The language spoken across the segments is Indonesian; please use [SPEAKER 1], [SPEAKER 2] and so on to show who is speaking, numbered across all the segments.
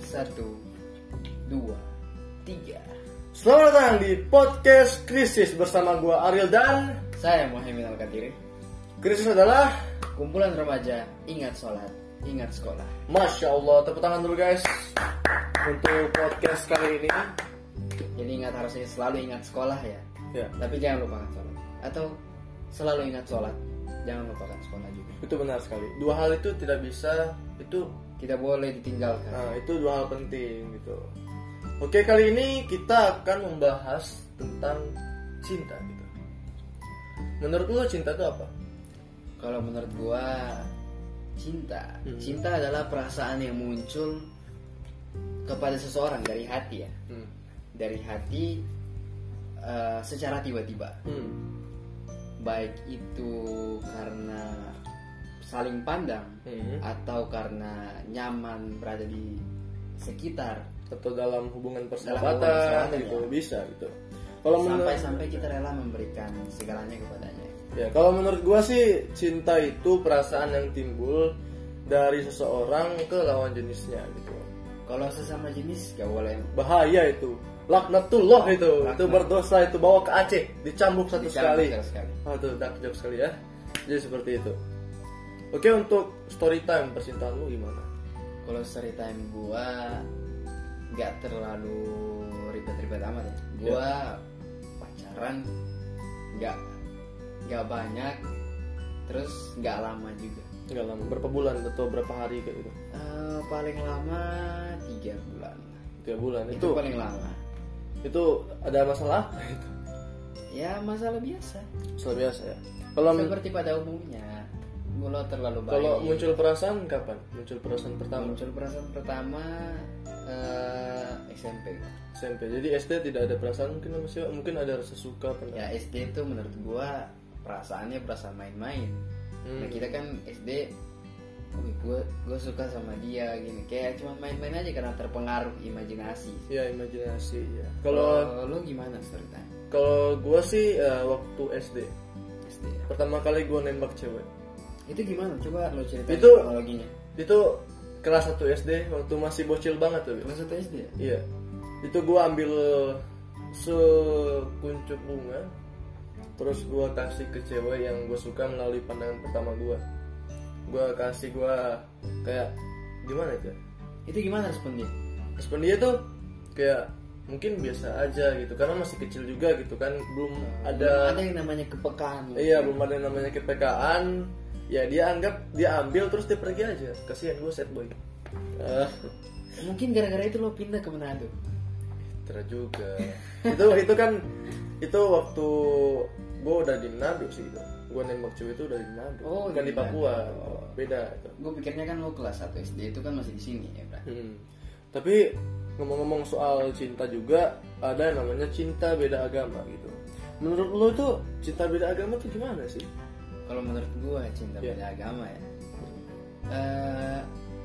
[SPEAKER 1] Satu, dua, tiga.
[SPEAKER 2] Selamat datang di podcast Krisis bersama gua Ariel dan
[SPEAKER 1] Saya Muhammad Al-Katiri.
[SPEAKER 2] Krisis adalah
[SPEAKER 1] Kumpulan remaja, ingat sholat, ingat sekolah.
[SPEAKER 2] Masya Allah, tepuk tangan dulu guys Untuk podcast kali ini
[SPEAKER 1] Jadi ingat harusnya selalu ingat sekolah ya.
[SPEAKER 2] Ya,
[SPEAKER 1] Tapi jangan lupakan sholat. Atau selalu ingat sholat, jangan lupakan sekolah juga.
[SPEAKER 2] itu benar sekali Dua hal itu tidak bisa, itu
[SPEAKER 1] Tidak boleh ditinggalkan.
[SPEAKER 2] nah, itu dua hal penting gitu Oke, kali ini kita akan membahas tentang cinta gitu Menurut lu cinta itu apa?
[SPEAKER 1] Kalau menurut gua cinta,
[SPEAKER 2] Hmm.
[SPEAKER 1] cinta adalah perasaan yang muncul kepada seseorang dari hati ya,
[SPEAKER 2] Hmm.
[SPEAKER 1] dari hati eh, secara tiba-tiba.
[SPEAKER 2] Hmm.
[SPEAKER 1] Baik itu karena saling pandang
[SPEAKER 2] Hmm.
[SPEAKER 1] atau karena nyaman berada di sekitar
[SPEAKER 2] Atau dalam hubungan
[SPEAKER 1] persahabatan,
[SPEAKER 2] persahabatan gitu,
[SPEAKER 1] ya.
[SPEAKER 2] bisa gitu kalau menurut-
[SPEAKER 1] sampai-sampai kita rela memberikan segalanya kepadanya.
[SPEAKER 2] Ya, kalau menurut gua sih cinta itu perasaan yang timbul dari seseorang ke lawan jenisnya gitu.
[SPEAKER 1] Kalau sesama jenis gak boleh
[SPEAKER 2] Bahaya itu. Laknatullah itu. Itu
[SPEAKER 1] Laknat.
[SPEAKER 2] berdosa itu bawa ke Aceh, dicambuk ya. satu
[SPEAKER 1] dicabut
[SPEAKER 2] sekali. Ah,
[SPEAKER 1] sama sekali.
[SPEAKER 2] Aduh, dark joke sekali ya. Jadi seperti itu. Oke, untuk story time percintaan lu gimana?
[SPEAKER 1] Kalau story time gua nggak terlalu ribet-ribet amat
[SPEAKER 2] Iya.
[SPEAKER 1] ya. Gua pacaran nggak nggak banyak, terus nggak lama juga.
[SPEAKER 2] Enggak lama, berapa bulan atau berapa hari kayak gitu?
[SPEAKER 1] Eh, paling lama tiga bulan.
[SPEAKER 2] Tiga bulan
[SPEAKER 1] Itu,
[SPEAKER 2] itu.
[SPEAKER 1] paling lama.
[SPEAKER 2] Itu ada masalah?
[SPEAKER 1] Ya masalah biasa.
[SPEAKER 2] Soal biasa ya. Kalau
[SPEAKER 1] Seperti pada umumnya, kalau terlalu baik.
[SPEAKER 2] kalau muncul perasaan kapan? Muncul perasaan pertama.
[SPEAKER 1] muncul perasaan pertama eh, SMP.
[SPEAKER 2] SMP. Jadi SD tidak ada perasaan mungkin sama siapa? Mungkin ada rasa suka pernah.
[SPEAKER 1] Ya SD itu menurut gua perasaannya perasaan main-main.
[SPEAKER 2] Hmm.
[SPEAKER 1] Nah kita kan SD, "Wih, gua gua suka sama dia gini. Kayak cuma main-main aja karena terpengaruh imajinasi.
[SPEAKER 2] Ya imajinasi ya. Kalau
[SPEAKER 1] lu gimana ceritanya?
[SPEAKER 2] kalau gua sih eh, waktu SD
[SPEAKER 1] SD.
[SPEAKER 2] pertama kali gua nembak cewek
[SPEAKER 1] Itu gimana? Coba lu ceritain
[SPEAKER 2] Itu-
[SPEAKER 1] kronologinya.
[SPEAKER 2] itu kelas 1 SD waktu masih bocil banget tuh.
[SPEAKER 1] Kelas satu SD ya?
[SPEAKER 2] Iya. Itu gua ambil sekuncup bunga terus gua kasih ke cewek yang gue suka melalui pandangan pertama gua. Gua kasih gua kayak gimana ya?
[SPEAKER 1] Itu gimana respon dia?
[SPEAKER 2] respon dia tuh kayak mungkin biasa aja gitu karena masih kecil juga gitu kan belum
[SPEAKER 1] Belum
[SPEAKER 2] ada
[SPEAKER 1] ada yang namanya kepekaan.
[SPEAKER 2] iya belum ada yang namanya kepekaan ya dia anggap dia ambil terus dia pergi aja kasihan gue set boy
[SPEAKER 1] Ah.
[SPEAKER 2] Eh,
[SPEAKER 1] Mungkin gara-gara itu lo pindah ke Manado.
[SPEAKER 2] Citra juga itu itu kan itu waktu gue udah di Manado sih gitu gue nembak cewek itu udah di Manado
[SPEAKER 1] Oh,
[SPEAKER 2] bukan
[SPEAKER 1] di
[SPEAKER 2] di Papua
[SPEAKER 1] Manado.
[SPEAKER 2] beda itu
[SPEAKER 1] Gue pikirnya kan lo kelas 1 SD itu kan masih di sini ya, Bra.
[SPEAKER 2] Hmm. Tapi ngomong-ngomong soal cinta juga ada yang namanya cinta beda agama gitu. Menurut lo tuh cinta beda agama tuh gimana sih?
[SPEAKER 1] Kalau menurut gua cinta
[SPEAKER 2] Iya.
[SPEAKER 1] beda agama ya. Eh,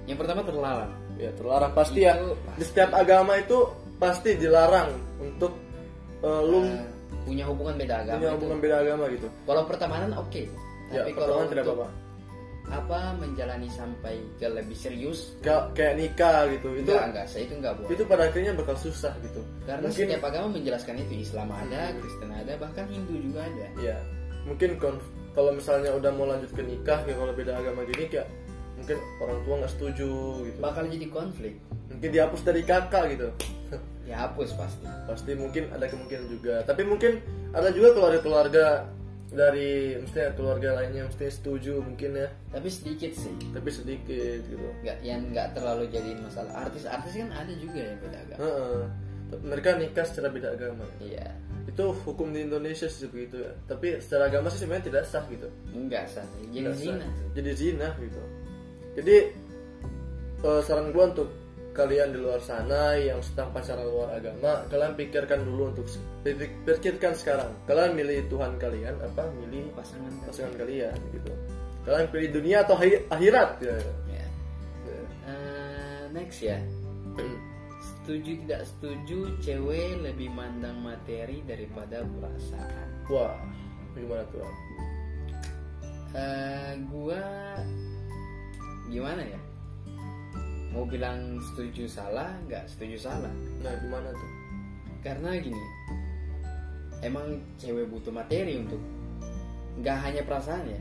[SPEAKER 1] yang pertama terlalang.
[SPEAKER 2] Ya terlarang pasti ya.
[SPEAKER 1] Itu
[SPEAKER 2] Di setiap agama itu pasti dilarang untuk eh, lu
[SPEAKER 1] Eh, punya hubungan beda agama.
[SPEAKER 2] punya
[SPEAKER 1] itu.
[SPEAKER 2] hubungan beda agama gitu.
[SPEAKER 1] Kalau pertemanan oke.
[SPEAKER 2] ya,
[SPEAKER 1] Tapi kalau
[SPEAKER 2] pertemanan tidak
[SPEAKER 1] untuk
[SPEAKER 2] apa-apa.
[SPEAKER 1] apa menjalani sampai ke lebih serius
[SPEAKER 2] Kayak, kayak nikah gitu. Itu
[SPEAKER 1] itu enggak, saya itu enggak boleh.
[SPEAKER 2] itu pada akhirnya bakal susah gitu.
[SPEAKER 1] Karena
[SPEAKER 2] mungkin
[SPEAKER 1] setiap agama menjelaskan itu Islam ada, Kristen ada, bahkan Hindu juga ada.
[SPEAKER 2] ya mungkin kon- kalau misalnya udah mau lanjut ke nikah ya kalau beda agama gini kayak mungkin orang tua nggak setuju gitu.
[SPEAKER 1] Bakal jadi konflik.
[SPEAKER 2] mungkin dihapus dari kakak gitu
[SPEAKER 1] Ya hapus pasti.
[SPEAKER 2] pasti mungkin ada kemungkinan juga tapi mungkin ada juga keluarga keluarga dari mestinya keluarga lainnya mesti setuju mungkin ya
[SPEAKER 1] Tapi sedikit sih.
[SPEAKER 2] tapi sedikit gitu
[SPEAKER 1] Nggak, yang nggak terlalu jadiin masalah. Artis-artis kan ada juga yang beda agama.
[SPEAKER 2] Heeh. mereka nikah secara beda agama
[SPEAKER 1] Iya.
[SPEAKER 2] itu hukum di Indonesia sih begitu ya tapi secara agama sih sebenarnya tidak sah gitu
[SPEAKER 1] Enggak sah. Jadi
[SPEAKER 2] Tidak sah.
[SPEAKER 1] zina. sih.
[SPEAKER 2] jadi Iya, zina gitu jadi eh, saran gua untuk kalian di luar sana yang sedang pacaran luar agama kalian pikirkan dulu untuk pikir- pikirkan sekarang kalian milih Tuhan kalian apa milih
[SPEAKER 1] Pasangan
[SPEAKER 2] pasangan kalian gitu kalian pilih dunia atau hi- akhirat ya,
[SPEAKER 1] Ya. Eh, next ya. Setuju tidak setuju cewek lebih mandang materi daripada perasaan.
[SPEAKER 2] wah gimana tuh
[SPEAKER 1] Eh, gua gimana ya? Mau mau bilang setuju salah nggak setuju salah
[SPEAKER 2] Nah gimana tuh?
[SPEAKER 1] karena gini emang cewek butuh materi untuk nggak hanya perasaannya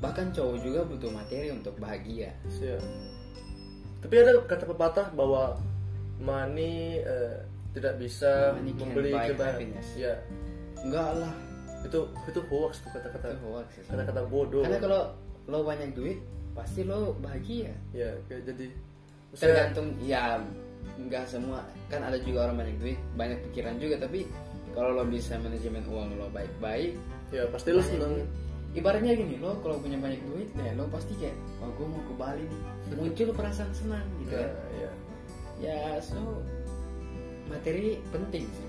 [SPEAKER 1] bahkan cowok juga butuh materi untuk bahagia
[SPEAKER 2] Siap. Iya. Tapi ada kata pepatah bahwa money eh, tidak bisa
[SPEAKER 1] Money can
[SPEAKER 2] membeli
[SPEAKER 1] buy
[SPEAKER 2] kebahagiaan.
[SPEAKER 1] happiness.
[SPEAKER 2] Ya,
[SPEAKER 1] enggak lah
[SPEAKER 2] itu itu hoax tuh
[SPEAKER 1] itu
[SPEAKER 2] kata-kata
[SPEAKER 1] hoax sih.
[SPEAKER 2] kata-kata bodoh.
[SPEAKER 1] karena kalau lo banyak duit pasti lo bahagia
[SPEAKER 2] Ya, kayak jadi
[SPEAKER 1] Kan
[SPEAKER 2] saya
[SPEAKER 1] tergantung ya nggak semua kan ada juga orang banyak duit banyak pikiran juga tapi kalau lo bisa manajemen uang lo baik-baik
[SPEAKER 2] ya pasti lu seneng.
[SPEAKER 1] ibaratnya gini lo kalau punya banyak duit ya lo pasti kayak oh gue mau ke Bali nih muncul perasaan senang gitu
[SPEAKER 2] Ya,
[SPEAKER 1] kan
[SPEAKER 2] ya.
[SPEAKER 1] ya so materi penting sih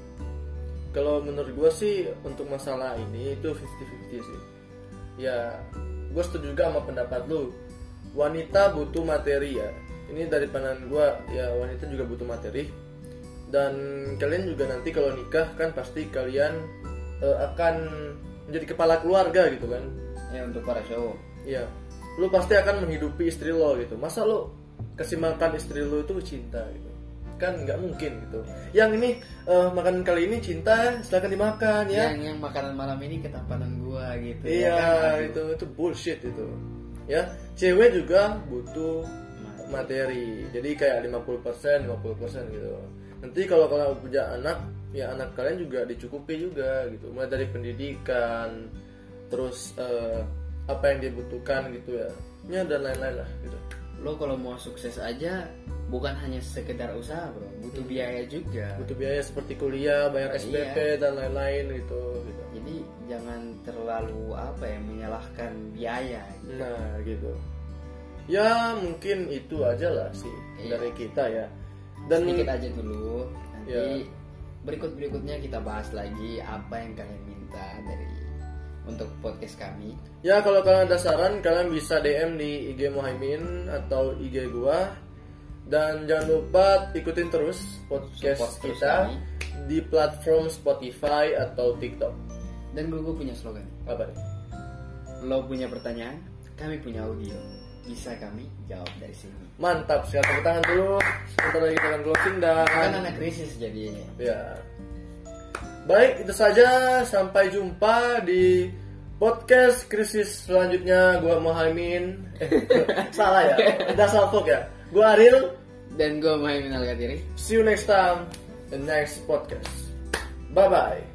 [SPEAKER 2] Kalau menurut gua sih untuk masalah ini itu 50-50 sih. Ya, gua setuju juga sama pendapat lu. Wanita butuh materi ya. Ini dari pandangan gua ya wanita juga butuh materi. Dan kalian juga nanti kalau nikah kan pasti kalian eh, akan menjadi kepala keluarga gitu kan.
[SPEAKER 1] ya untuk para cowok
[SPEAKER 2] Iya. Lu pasti akan menghidupi istri lo gitu. Masa lu kasih makan istri lu itu cinta gitu. Kan nggak mungkin gitu. Yang ini eh, makanan kali ini cinta, silakan dimakan ya.
[SPEAKER 1] yang yang makanan malam ini ketampanan gua gitu
[SPEAKER 2] Iya,
[SPEAKER 1] ya kan? Aduh.
[SPEAKER 2] itu itu bullshit itu. Ya, cewek juga butuh
[SPEAKER 1] Materi.
[SPEAKER 2] materi. Jadi kayak 50%, 50% gitu. Nanti kalau kalian punya anak, ya anak kalian juga dicukupi juga gitu. Mulai dari pendidikan, terus eh, apa yang dibutuhkan gitu ya. Ya dan lain-lain lah gitu.
[SPEAKER 1] lo kalau mau sukses aja bukan hanya sekedar usaha bro butuh biaya juga
[SPEAKER 2] Butuh biaya seperti kuliah, bayar
[SPEAKER 1] Iya.
[SPEAKER 2] SPP dan lain-lain gitu gitu.
[SPEAKER 1] jadi jangan terlalu apa ya menyalahkan biaya
[SPEAKER 2] Nah gitu. Ya mungkin itu aja lah sih
[SPEAKER 1] Iya.
[SPEAKER 2] dari kita ya. Dan
[SPEAKER 1] sedikit aja dulu nanti
[SPEAKER 2] Iya.
[SPEAKER 1] berikut berikutnya kita bahas lagi apa yang kalian minta dari untuk podcast kami
[SPEAKER 2] ya kalau kalian ada saran kalian bisa DM di IG Mohaimin atau IG gua. Dan jangan lupa ikutin terus
[SPEAKER 1] Support
[SPEAKER 2] podcast
[SPEAKER 1] terus
[SPEAKER 2] kita
[SPEAKER 1] kami.
[SPEAKER 2] di platform Spotify atau TikTok.
[SPEAKER 1] dan Google punya slogan
[SPEAKER 2] Apa nih?
[SPEAKER 1] lo punya pertanyaan kami punya audio bisa kami jawab dari sini
[SPEAKER 2] Mantap, sekali tepuk tangan dulu. Sebentar lagi kita akan closing dan
[SPEAKER 1] kan anak krisis jadinya
[SPEAKER 2] Ya. Baik, itu saja. Sampai jumpa di podcast krisis selanjutnya. Gua Mohaimin. Eh, salah ya. Udah salfok ya. Gua Aril.
[SPEAKER 1] dan gue main Minal Gatiri
[SPEAKER 2] See you next time. The next podcast. Bye bye.